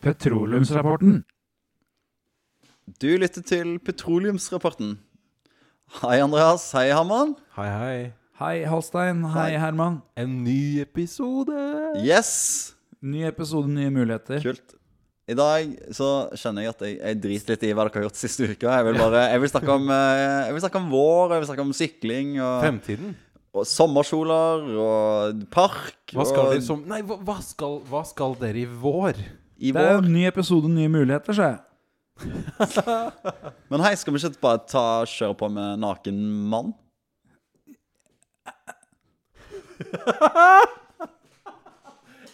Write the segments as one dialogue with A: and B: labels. A: Petroleumsrapporten.
B: Du lytter til Petroleumsrapporten. Hei, Andreas. Hei, Herman.
C: Hei, hei.
A: Hei, Halstein. Hei, Herman.
C: En ny episode!
B: Yes!
A: Ny episode, nye muligheter.
B: Kult. I dag så kjenner jeg at jeg, jeg driter litt i hva dere har gjort siste uka. Jeg vil bare, jeg vil snakke om, eh, jeg vil snakke om vår, jeg vil snakke om sykling og,
C: Fremtiden.
B: og sommerkjoler og park.
C: Hva skal
B: og,
C: dere som Nei, hva, hva, skal, hva skal dere i vår?
B: i
A: Det er
B: vår?
A: en ny episode, nye muligheter, sa jeg.
B: Men hei, skal vi ikke bare ta, kjøre på med naken mann?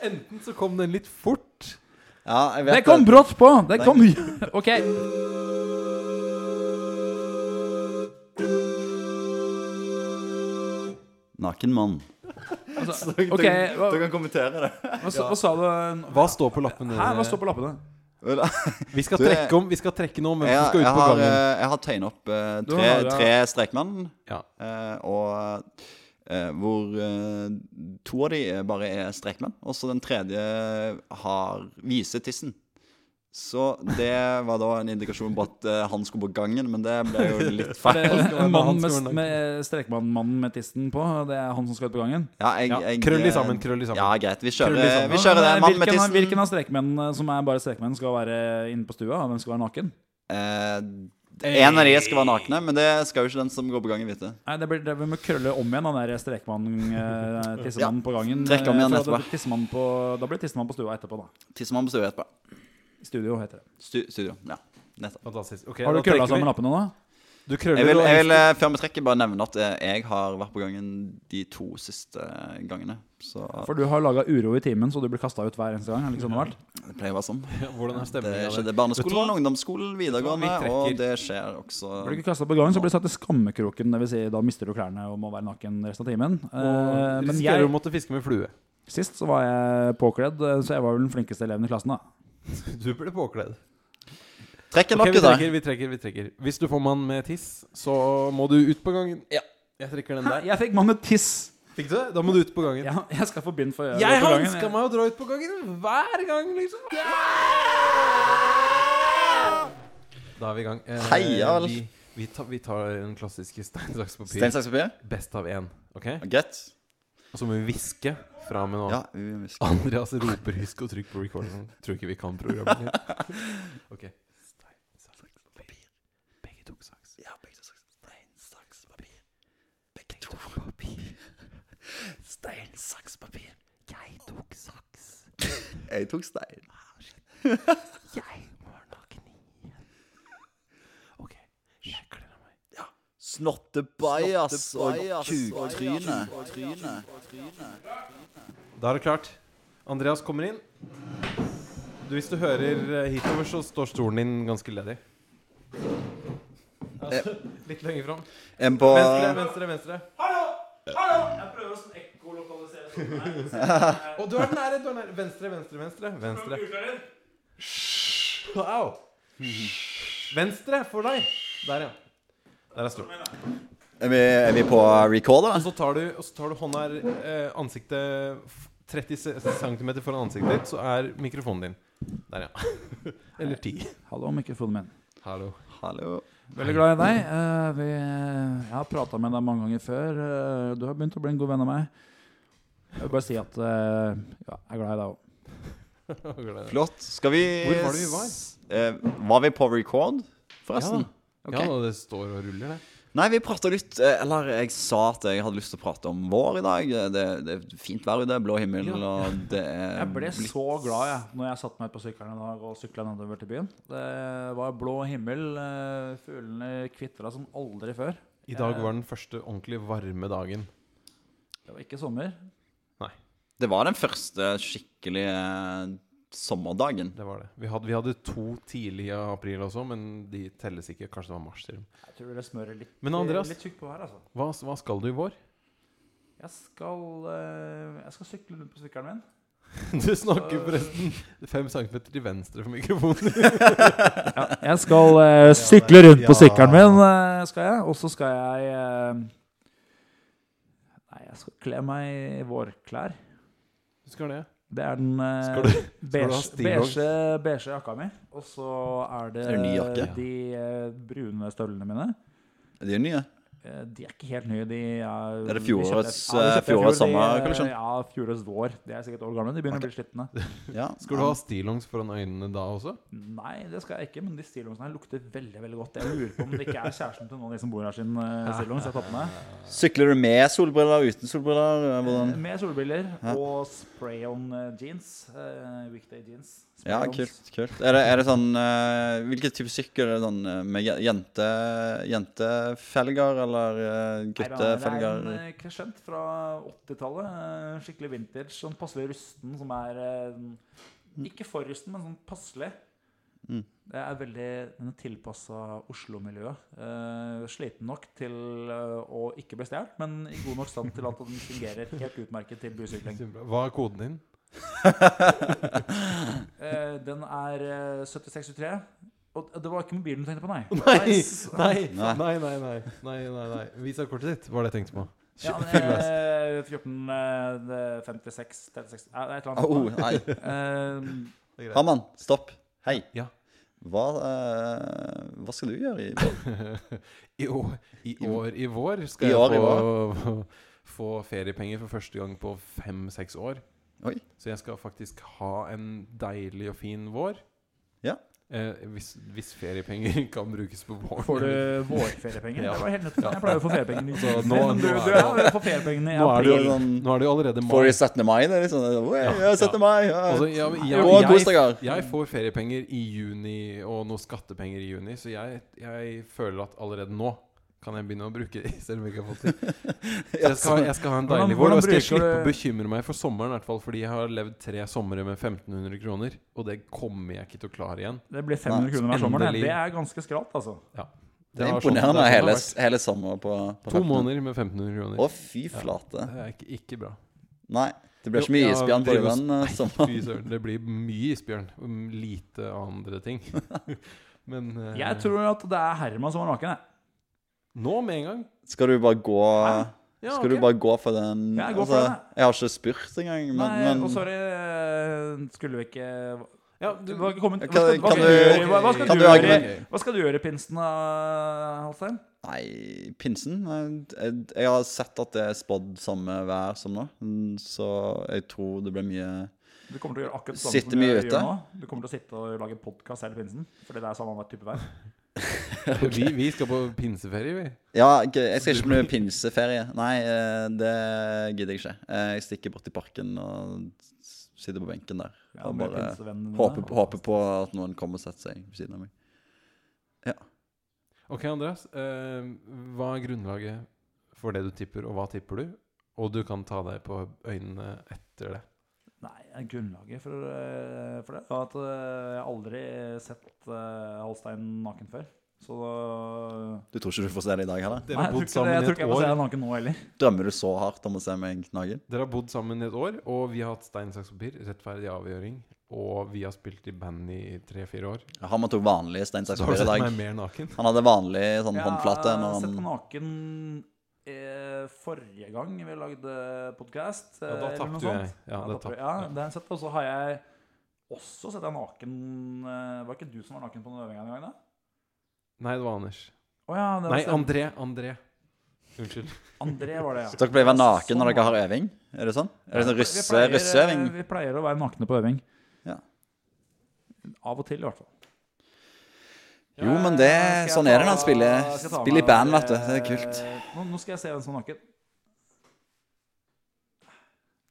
C: Enten så kom den litt fort.
B: Ja, jeg vet
A: Det kom brått på! Det kom OK.
B: Naken mann.
A: Altså, ok, hva,
B: kan kommentere det.
A: hva, sa- hva sa du?
C: Hva står på lappen?
A: Hæ, hva står på lappene?
C: Vi skal
B: Du, jeg-
C: trekke om, vi skal trekke noe, men
B: Jeg,
C: vi skal
B: jeg
C: ut på
B: har, eh,
C: gangen.
B: jeg har tegnet opp eh,
A: Du
B: tre,
A: har det, ja.
B: tre strekmann.
C: Ja.
B: Eh, og eh, hvor eh, to av de er- bare er strekmenn, og så den tredje har viser tissen. Så det var da en indikasjon på at eh, han skulle på gangen, men det ble jo litt
A: Er
B: feil.
A: det
C: skal være
A: en mann
C: han
A: med,
C: som går langt.
A: med strekmannmannen med tissen på? Det er han som skal ut på gangen?
B: Ja, jeg,
C: Ja,
B: jeg- eh,
C: krøll de sammen, krøll de sammen.
B: Ja, greit. Vi
C: Krøll de
B: kjører,
C: sammen. Eh,
B: vi kjører det.
A: Men eh,
B: Mann
A: hvilken
B: med
A: av-
B: tissen.
A: Hvilken av strekmennene som er bare strekmenn, skal være inne på stua? og Hvem skal være naken?
B: Eh, en av de skal være nakne, men det skal jo ikke den som går på gangen, vite.
A: Nei, det blir, det, Vi må krølle om igjen han der strekmann-tissemannen på gangen. Eh,
B: trekk om
A: For
B: igjen
A: da
B: etterpå.
A: blir tissemannen på, da blir tissemann på stua etterpå, da.
B: Tissemann består jo etterpå.
A: I studio, heter det.
B: Stu- Studio. Ja, nettopp.
C: Fantastisk. Ok,
A: Har du
C: da
A: krølla
C: trekker vi.
A: sammen lappene nå?
C: Du krøller
B: Jeg vil,
C: og-
B: jeg vil eh, før vi trekker, bare nevne at eh, jeg har vært på gangen de to siste gangene. Så
A: For du har laga uro i timen, så du blir kasta ut hver eneste gang. Liksom det har vært.
B: det pleier å være sånn.
C: Ja, Hvordan er
B: Det
C: stemningen?
B: skjedde i
C: Vet du
B: barneskolen,
C: hva?
B: ungdomsskolen, videregående,
C: Vet du hva, vi
B: og
C: trekker.
B: det skjer også
A: Blir du ikke kastet på gangen, så blir du satt i skammekroken. Det vil si, da mister du klærne og må være naken resten av timen. Eh,
C: Og
A: men
C: risikerer å
A: jeg,
C: måtte fiske med flue.
A: sist så var jeg påkledd, eh, så jeg var vel den flinkeste eleven i klassen, da.
C: Du ble påkledd.
B: Trekk en
C: Ok,
B: okay,
C: vi
B: da.
C: trekker, vi trekker, vi trekker. Hvis du får mann med tiss, så må du ut på gangen. Ja, jeg trekker den der.
A: Jeg fikk mann med tiss!
C: Fikk du det? Da må du ut på gangen.
A: Jeg, jeg skal få bind for å gjøre
C: Jeg
A: det på gangen.
C: hansker meg å dra ut på gangen hver gang, liksom. Da er vi i gang. Eh,
B: Heia, vel.
C: vi, vi, tar, vi tar den klassiske stein, saks, papir.
B: Stein, saks, papir.
C: Best av én. Ok?
B: Greit.
C: Og så må vi hviske fra med nå.
B: Ja, vi husker.
C: Andreas roper 'husk å trykke på recording'. Tror ikke vi kan programmet. Ok. Stein, saks, papir. Begge tok saks.
B: Ja, begge to saks. Stein, saks, papir. Begge to papir. Stein, saks, papir.
C: Jeg tok saks.
B: Jeg tok stein.
C: Jeg var naken igjen. Ok. Jeg kler av meg.
B: Snottebajas og kuktryne.
C: Da er det klart. Andreas kommer inn. Du, hvis du hører eh, hitover, så står stolen din ganske ledig. Altså, litt lenger fram.
B: En på
C: Venstre, venstre, venstre. Hallo! Hallo! Jeg prøver å sånn ekkolokalisere. Å, sånn du er nære, du er nære. Venstre, venstre, venstre. Venstre. Hysj. Au. Venstre for deg. Der, ja. Der er stolen.
B: Er vi, er vi på record,
C: Og
B: da?
C: så tar du, og så tar du hånda eh, ansiktet f- 30 se- centimeter foran ansiktet ditt, så er mikrofonen din. Der, ja. Eller 10.
A: Hallo, mikrofonen min.
C: Hallo.
B: Hallo.
A: Veldig glad i deg. Eh, vi, jeg har prata med deg mange ganger før. Eh, du har begynt å bli en god venn av meg. Jeg vil bare si at eh, ja, jeg er glad i deg òg.
C: Gleder deg.
B: Flott. Skal vi
C: Hvor var det vi var?
B: s- Eh, var vi på record, forresten? Ok.
C: Ja, da, det står og ruller, det.
B: Nei, vi prata litt eh, Eller jeg sa at jeg hadde lyst til å prate om vår i dag. Eh, Det, det er fint vær ute, blå himmel,
C: Ja.
B: og det er
A: Jeg ble
B: blitt-
A: så glad jeg når jeg satte meg på sykkelen i dag og sykla nedover til byen. Det var blå himmel. eh, Fuglene kvitra som aldri før.
C: I dag var den første ordentlig varme dagen.
A: Det var ikke sommer.
B: Det var den første skikkelige sommerdagen.
C: Det var det. Vi hadde, vi hadde to tidlig i april også, men de telles ikke. Kanskje det var mars. til og med.
A: Jeg tror det smører litt,
C: Men Andreas-
A: litt tykt på her, altså.
C: Hva, hva skal du i vår?
A: Jeg skal, eh, jeg skal sykle rundt på sykkelen min.
C: Du snakker forresten fem centimeter til venstre for mikrofonen.
A: Ja, jeg skal eh, sykle rundt på sykkelen min, eh, skal jeg. Og så skal jeg eh, Nei, jeg skal kle meg i vårklær.
C: Du skal det?
D: Det er den eh,
C: Skal du- du ha
D: beige,
C: stillongs?
D: beige, beige jakka mi. Og så er det,
B: Det er ny jakke.
D: de eh, brune støvlene mine.
B: De er nye.
D: Eh, De er ikke helt nye. De er,
B: Er det
D: de kjøpte-
B: fjorårets,
D: ja, de
B: eh,
D: kjøpte jeg i
B: fjorårets
D: fjor. De,
B: sommerkolleksjon?
D: eh, Ja, fjorårets vår. De er sikkert et år gamle. De begynner å bli slitne.
B: Ja.
C: Skal du ha stillongs foran øynene da også?
D: Nei, det skal jeg ikke, men de stillongene her lukter veldig veldig godt. Jeg lurer på om det ikke er kjæresten til noen av de som bor her, sin eh, stillongs jeg har tatt med.
B: Sykler du med solbriller, uten solbriller? Eh, Hvordan?
D: Med solbriller og spray-on eh, jeans. eh, weekday jeans.
B: Ja,
D: Spray-ons.
B: kult. kult. Er, det, er det sånn eh, Hvilken type sykkel er det sånn eh, med je- jente, jentefelger eller eh,
D: Nei, da, Det er
B: guttefelger?
D: en eh, crescent fra 80-tallet. eh, Skikkelig vintage. Sånn passelig rusten, som er eh, Ikke for rusten, men sånn passelig.
B: Mm.
D: Det er veldig Den er tilpassa Oslo-miljøet. Eh, sliten nok til eh, å ikke bli stjålet, men i god nok stand til at den fungerer helt utmerket til busykling.
C: Kjempebra. Hva er koden din?
D: Eh, den er eh, 7623. Og det var ikke mobilen du tenkte på, nei?
C: Nei,
D: s-
C: nei,
B: Nei.
C: nei, nei, nei, nei, nei, nei. Vis deg kortet ditt, var det jeg tenkte på.
D: Ja, men, eh, 14, eh, det- 56, 36 eh, Det er et eller annet.
B: Oh, nei.
D: Eh,
C: Det er greit.
B: Herman, stopp. Hei.
C: Ja.
B: Hva, eh, hva skal du gjøre i vår?
C: I år, I år i vår
B: I
C: skal jeg
B: år i
C: få, få feriepenger for første gang på fem-seks år.
B: Oi.
C: Så jeg skal faktisk ha en deilig og fin vår.
B: Ja.
C: Eh, hvis, hvis feriepenger kan brukes på våren.
D: Får du vårferiepenger?
C: Ja.
D: Det var helt nytt.
C: Ja.
D: Jeg pleier å få feriepenger i
C: Så nå-
D: juni, men
C: nå
D: du,
C: er
D: du
C: det-
D: er på feriepengene i
C: Nå er det
D: april.
C: jo
B: Sånn-
C: Nå er det jo allerede
B: Får
C: mai.
B: de 17. mai? Det er liksom, Oi, ja, 17. mai ja.
C: Altså, ja, men jeg,
B: Gå, kos
C: jeg,
B: dere.
C: jeg får feriepenger i juni og noe skattepenger i juni, så jeg, jeg føler at allerede nå kan jeg begynne å bruke det, selv om jeg ikke har fått det. Så jeg skal, jeg skal ha en
D: Hvordan-
C: deilig vår, og jeg skal
D: hvordan
C: slippe å
D: bruker
C: bekymre meg for sommeren, i hvert fall fordi jeg har levd tre somre med 1500 kroner, og det kommer jeg ikke til å klare igjen.
D: Det blir 500 kroner hver sommer. Det. det er ganske skralt, altså.
B: Det er
C: har sånn-
B: imponerende
C: det er sånn det
B: hele,
C: har vært.
B: hele sommer på, på
C: To
B: 15.
C: måneder med 1500
B: Å,
C: kroner.
B: fy flate.
C: Det er ikke, ikke bra.
B: Nei, det blir
C: Jo,
B: ikke mye
C: ja,
B: isbjørn på
C: driver og
B: den eh, sommeren.
C: Fy søren, det blir mye isbjørn. mm, Lite andre ting. Men eh,
D: Jeg tror at det er Herman som er naken. jeg.
C: Nå med en gang.
B: Skal du bare gå
C: Ja,
B: Skal
C: ok.
B: du bare gå for den? Altså,
D: Ja, jeg går for den,
B: jeg har ikke spurt engang, men,
D: Nei,
B: men
D: og sorry, eh, skulle vi ikke
C: ja,
D: Du
C: du,
D: var ikke kommet
B: Kan-
D: Hva
B: kan
D: skal, hva skal du
B: du-
D: gjøre, hva, hva skal
B: kan
D: du
B: du
D: gjøre,
B: argumentere?
D: hva skal du gjøre i pinsen, da, Halstein?
B: Nei, pinsen eh, jeg, jeg har sett at det er spådd samme vær som nå, mm, så jeg tror det blir mye
D: Du kommer til å gjøre akkurat det samme
B: Sitte
D: som du
B: mye
D: gjør
B: ute?
D: nå. Du kommer til å sitte og lage podkast hele pinsen. Fordi det er samme type vær.
C: vi, vi skal på pinseferie, vi.
B: Ja, ikke- jeg skal ikke på noe pinseferie. Nei, eh, det gidder jeg ikke. Eh, Jeg stikker bort i parken og s- sitter på benken der.
D: Ja,
B: Og
D: med
B: bare
D: pinsevennene dine.
B: håper, håper på at noen kommer og setter seg ved siden av meg.
C: Ok, Andreas. eh, hva er grunnlaget for det du tipper, og hva tipper du? Og du kan ta deg på øynene etter det.
D: Nei, grunnlaget for, eh, for det var at eh, jeg aldri sett eh, Halstein naken før. Så da
B: Du tror ikke du får se det i dag heller?
C: Dere har
D: Nei,
C: bodd
D: jeg tror ikke det-
C: sammen
D: jeg
C: i
D: tror
C: et
D: ikke jeg får se
C: år.
D: deg naken nå heller.
B: Drømmer du så hardt om å se meg naken?
C: Dere har bodd sammen i et år, og vi har hatt stein, saks, papir, rettferdig avgjøring. Og vi har spilt i band i tre-fire år.
B: Herman tok vanlig stein, saks,
C: Så har du
B: papir i
C: sett meg
B: dag.
C: mer naken.
B: Han hadde vanlig sånn håndflate
D: jeg
B: når
D: har sett deg
B: han
D: naken eh, forrige gang vi eh, lagde podkast.
C: Ja, da tapte jo jeg. Ja, da tapte-
D: ja,
C: ja.
D: det har jeg sett. Og så har jeg også sett deg naken eh, Var ikke du som var naken på den øvinga en gang, da?
C: Nei, det var Anders.
D: Å ja, det var
C: Nei,
D: stemmer.
C: André. André. Unnskyld.
D: André var det, ja.
B: Så dere pleier å være naken når
D: Sånn,
B: dere
D: ja.
B: har øving? Er det sånn? Er det sånn
D: Vi
B: russe,
D: pleier, eh,
B: russeøving?
D: Vi pleier å være nakne på øving.
B: Ja.
D: Av og til, i hvert fall.
B: Jo, men det,
D: Ja, skal
B: sånn
D: jeg
B: er det når han
D: ta-
B: spiller,
D: skal jeg ta
B: spiller i
D: med-
B: band, vet du. Det er kult.
D: Nå, nå skal jeg se hvem som er naken.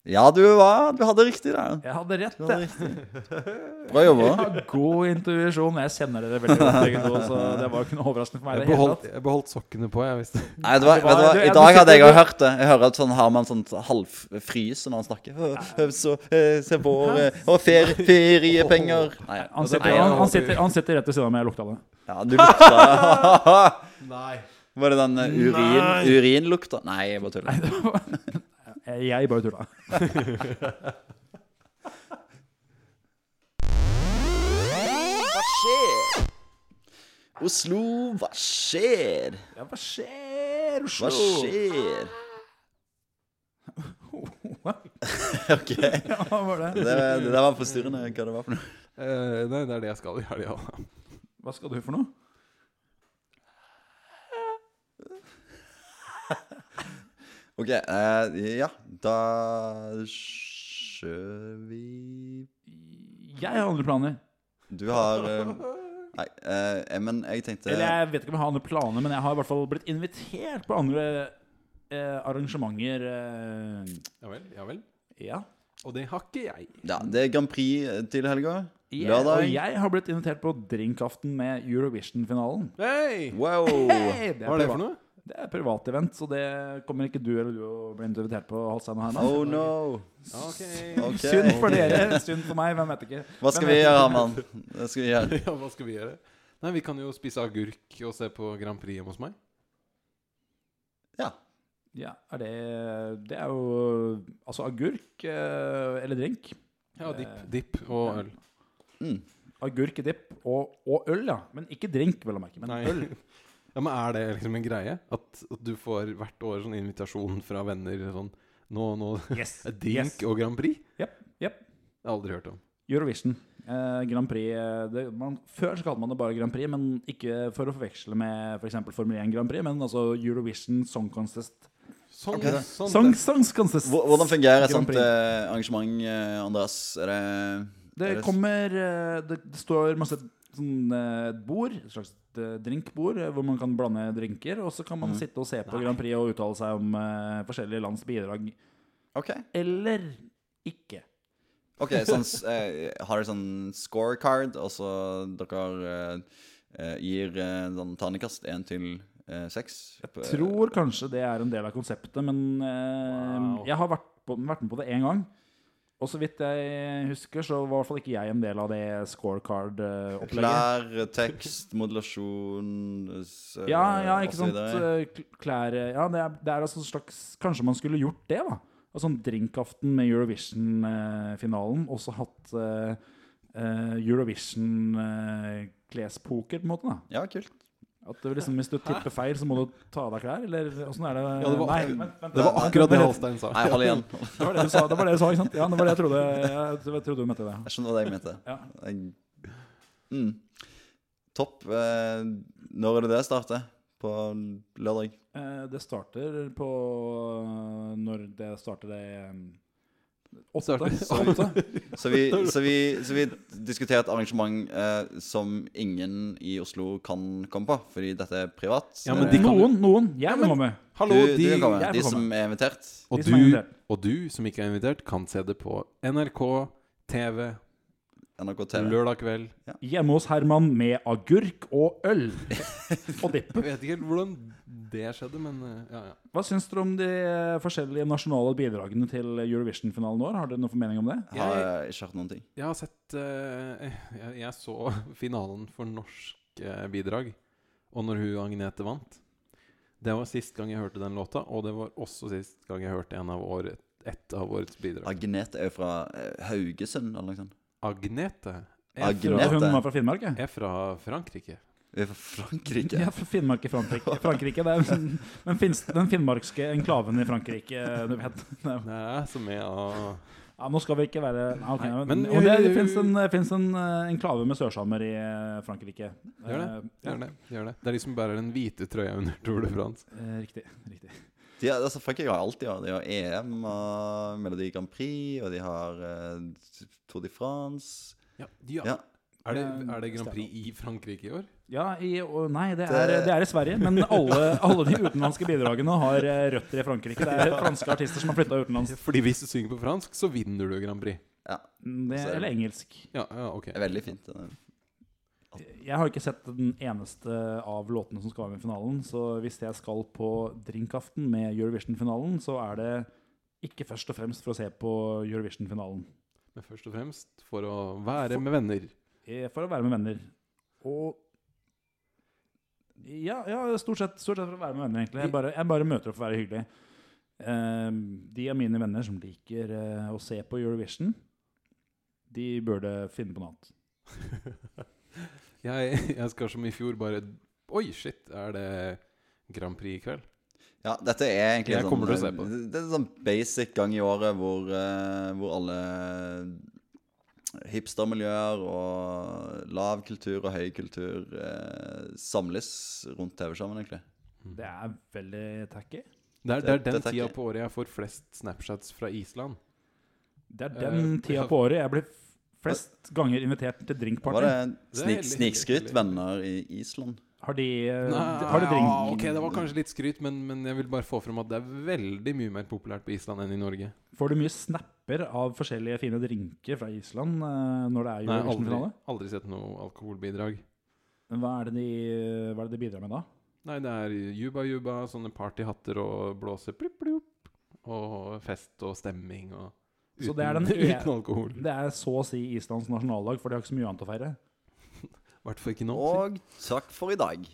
B: Ja, du, var, du hadde riktig der.
D: Jeg hadde rett,
B: Du hadde
D: jeg.
B: riktig. Bra jobba.
D: Jeg har god intuisjon. Jeg kjenner dere veldig godt, begge to, så det var jo ikke noe overraskende for meg. i
C: Jeg
D: det hele
C: beholdt,
D: tatt.
C: jeg beholdt sokkene på, jeg visste.
B: Nei, det var,
D: det var-
B: vet du hva,
D: du-
B: I
D: jeg-
B: dag
D: du
B: hadde jeg
D: sitter-
B: også hørt det. Jeg hører at sånn har man sånn halvfrys når han snakker. Øh, øh, Så, øh, se på øh, Og ferie, feriepenger. Nei, altså,
D: Han sitter,
B: nei,
D: han,
B: jeg-
D: han, sitter, han sitter rett ved siden av meg, jeg lukta det.
B: Ja, du lukta
C: Nei.
B: Var det den øh,
C: Nei.
B: urin, urinlukta? Nei, jeg bare tuller.
D: Jeg- Eh, Jeg bare tulla.
B: Oslo, hva skjer?
D: Ja, hva skjer,
B: Hva skjer?
A: Hva?
B: OK. Det,
A: Ja, hva var det?
B: det der var forstyrrende hva det var for noe.
C: Eh, nei, det er det jeg skal i helga.
A: Hva skal du for noe?
B: OK. eh, ja, da kjører vi
A: Jeg har andre planer.
B: Du har eh, Nei, eh, men jeg tenkte
A: Eller jeg vet ikke om jeg har andre planer, men jeg har i hvert fall blitt invitert på andre eh, arrangementer. Eh,
C: Ja vel, ja vel.
A: ja.
C: Og det har ikke jeg.
B: Ja, det er Grand Prix eh, til helga.
A: Jeg- Og
B: Lørdag.
A: jeg har blitt invitert på drinkaften med Eurovision-finalen.
C: Hei!
B: Wow! Oh,
A: Hey,
C: Hva er det for noe?
A: Det er privatevent, så det kommer ikke du eller du å bli invitert på. Halstein og Herman.
B: Oh no.
C: Ok.
B: Ok.
A: Synd for dere, synd for meg. Hvem vet ikke.
B: Hva skal
A: Hvem
B: vi
A: vet
B: gjøre,
A: ikke?
B: Herman? Hva skal vi gjøre?
C: Ja, hva skal vi gjøre? Nei, vi kan jo spise agurk og se på Grand Prix hjemme hos meg.
B: Ja.
A: Ja, er det, det er jo altså agurk eh, eller drink.
C: Ja, dipp,
A: eh,
C: dipp og øl.
B: Mm.
A: Agurk, dipp og, og øl, ja. Men ikke drink, vel å merke. Men
C: Nei.
A: øl.
C: Ja, men er det liksom en greie? At, at du får hvert år sånn invitasjon fra venner sånn Nå, nå
A: Yes.
C: Drink og Grand Prix?
A: Jepp. Jepp.
C: Det har jeg aldri hørt om.
A: Eurovision. Eh, Grand Prix eh, det, man, Før så kalte man det bare Grand Prix, men ikke for å forveksle med f.eks. eksempel Formel 1 Grand Prix, men altså Eurovision Song Contest.
C: Sånn,
B: Ok.
C: sånn
A: Song,
C: det.
A: songs Contest.
B: Hvor- Hvordan fungerer et
A: Grand
B: sånt
A: Prix.
B: eh, arrangement, eh, Andreas? Er det er
A: Det kommer eh, Det, det står masse sånn eh, bord, et slags eh, drinkbord, eh, hvor man kan blande drinker. Og så kan
D: Mm.
A: man sitte og se på Grand Prix og uttale seg om eh, forskjellige lands bidrag.
B: OK.
A: Eller ikke.
B: ok, sånn, s- eh, Har dere sånn scorecard, og så dere eh, eh, gir eh, sånn terningkast én til eh, seks?
A: Jeg tror kanskje det er en del av konseptet, men eh,
C: Wow.
A: jeg har vært, på, vært med på det én gang. Og så vidt jeg husker, så var i hvert fall ikke jeg en del av det scorecard-opplegget.
B: Klær, tekst, modulasjon s- eh,
A: Ja, ja,
B: og
A: ikke
B: så
A: sant.
B: videre.
A: eh, kl- Klær eh, Ja, det er, det er altså en slags Kanskje man skulle gjort det, da. Altså en drinkaften med Eurovision-finalen, og så hatt eh, Eurovision-klespoker, på en måte. da
B: Ja, kult.
A: eh, At det var liksom, Hvis du tipper feil, så må du ta av deg klær? Eller åssen er det?
C: Ja, det var
A: Nei,
C: akkurat-
A: vent, vent,
C: Det var
A: vent.
C: akkurat det
A: Vent.
C: Halstein sa.
B: Nei, hold igjen.
A: Det var det du sa, det var det du sa ikke sant? Ja, det var det jeg trodde. Jeg tro- jeg trodde du mente det.
B: Jeg skjønner hva jeg mente.
A: Ja.
B: Jeg- Mm. Topp. Eh, Når er det det starter? På lørdag?
A: Eh, Det starter på eh, Når det starter det eh, Åtte.
C: Starter-
A: åtte.
B: Så vi, så vi, så vi diskuterer et arrangement eh, som ingen i Oslo kan komme på, fordi dette er privat.
C: Ja, men
B: Eh,
C: de kan-
A: Noen, noen. Jeg
C: men-
A: må med.
C: Hallo,
B: du, du
C: de,
B: kan komme.
A: jeg får
B: De
A: komme.
B: som er invitert.
C: og,
A: de som er
C: du,
A: invitert.
C: og du som ikke er invitert, kan se det på NRK TV
B: NRK TV.
C: lørdag kveld.
A: Hjemme hos Herman med agurk og øl. Og dipp.
C: Jeg vet ikke helt hvordan det skjedde, men eh, ja, ja.
A: Hva syns dere om de eh, forskjellige nasjonale bidragene til Eurovision-finalen i år? Har dere noen formening om det?
B: Jeg har eh, ikke hørt noen ting.
C: Jeg har sett eh, jeg, jeg så finalen for norsk eh, bidrag, og når hun Agnete vant. Det var sist gang jeg hørte den låta, og det var også sist gang jeg hørte en av året, ett av årets bidrag.
B: Agnete er jo fra eh, Haugesund eller noe sånt.
C: Agnete er
B: Agnete.
A: Hun
C: fra,
A: var fra Finnmark, ja.
C: er fra Frankrike.
B: Vi er fra Frankrike.
A: Ja, fra Finnmark i Frankrike. Frankrike det er den, den, finns, den finnmarkske enklaven i Frankrike, du vet. Det er
C: Nei, som er av
A: Ja, nå skal vi ikke være ja, ok,
C: Nei,
A: men,
C: men- eh,
A: og det, det fins en, det finnes en eh, enklave med sørsamer i eh, Frankrike.
C: Gjør Gjør det. Gjør det. det er de som bærer den hvite trøya under Tour de France.
A: Eh, eh, riktig. riktig.
B: De, har- altså, Frankrike har alltid ja. De har EM og Melodi Grand Prix, og de har eh, Tour de France.
C: Ja, Eh, ja.
B: Ja.
C: Er, det, er det Grand Prix i Frankrike i år?
A: Ja, i, å, nei, det er, det er i Sverige. Men alle, alle de utenlandske bidragene har eh, røtter i Frankrike. Det er franske artister som har flytta utenlands.
C: Fordi hvis du synger på fransk, så vinner du Grand Prix.
B: Ja,
A: Det, eller engelsk.
C: Ja, ja ok.
B: det er veldig fint. det der.
A: Jeg har ikke sett den eneste av låtene som skal være med i finalen. Så hvis jeg skal på drinkaften med Eurovision-finalen, så er det ikke først og fremst for å se på Eurovision-finalen.
C: Men først og fremst for å være med venner.
A: Eh, For å være med venner. Og Ja, ja stort, sett, stort sett for å være med venner, egentlig. Jeg bare, jeg bare møter opp for å være hyggelig.
D: Eh,
A: Ehm, de av mine venner som liker eh, å se på Eurovision, de burde
D: eh,
A: finne på noe annet.
C: Jeg, jeg skal som i fjor bare Oi, shit, er det Grand Prix i kveld?
B: Ja, dette er egentlig
C: Jeg kommer til å se på
B: det. Det er en sånn basic gang i året hvor, eh, hvor alle hipstermiljøer og lav kultur og høy kultur eh, samles rundt TV-skjermen, egentlig.
D: Det er veldig tacky.
C: Det er, det er
B: Det-
C: den
B: dette er
C: tida
B: ikke-
C: på året jeg får flest Snapchats fra Island.
D: Det er den
C: Eh,
D: tida
C: ja.
D: på året jeg blir f- flest ganger invitert til drinkparty.
B: Var det
C: Det er
B: snik,
C: litt-
B: snikskryt,
C: litt-
B: venner i Island?
D: Har de, eh,
C: Nei,
D: har de drink?
C: ja, ok, Det var kanskje litt skryt, men, men jeg vil bare få frem at det er veldig mye mer populært på Island enn i Norge.
D: Får du mye snapper av forskjellige fine drinker fra Island eh, når det er
C: Nei, aldri,
D: Eurovision-finale?
C: aldri sett noe alkoholbidrag.
D: Men Hva, er det de- hva er det de bidrar med da?
C: Nei, det er juba-juba, sånne partyhatter og blåse plipp, plipp, og fest og stemming og
D: Så det er den e-
C: uten alkohol.
D: Det er så å si Islands nasjonaldag, for de har ikke så mye annet å feire.
C: I hvert fall ikke nå.
B: Og takk for i dag.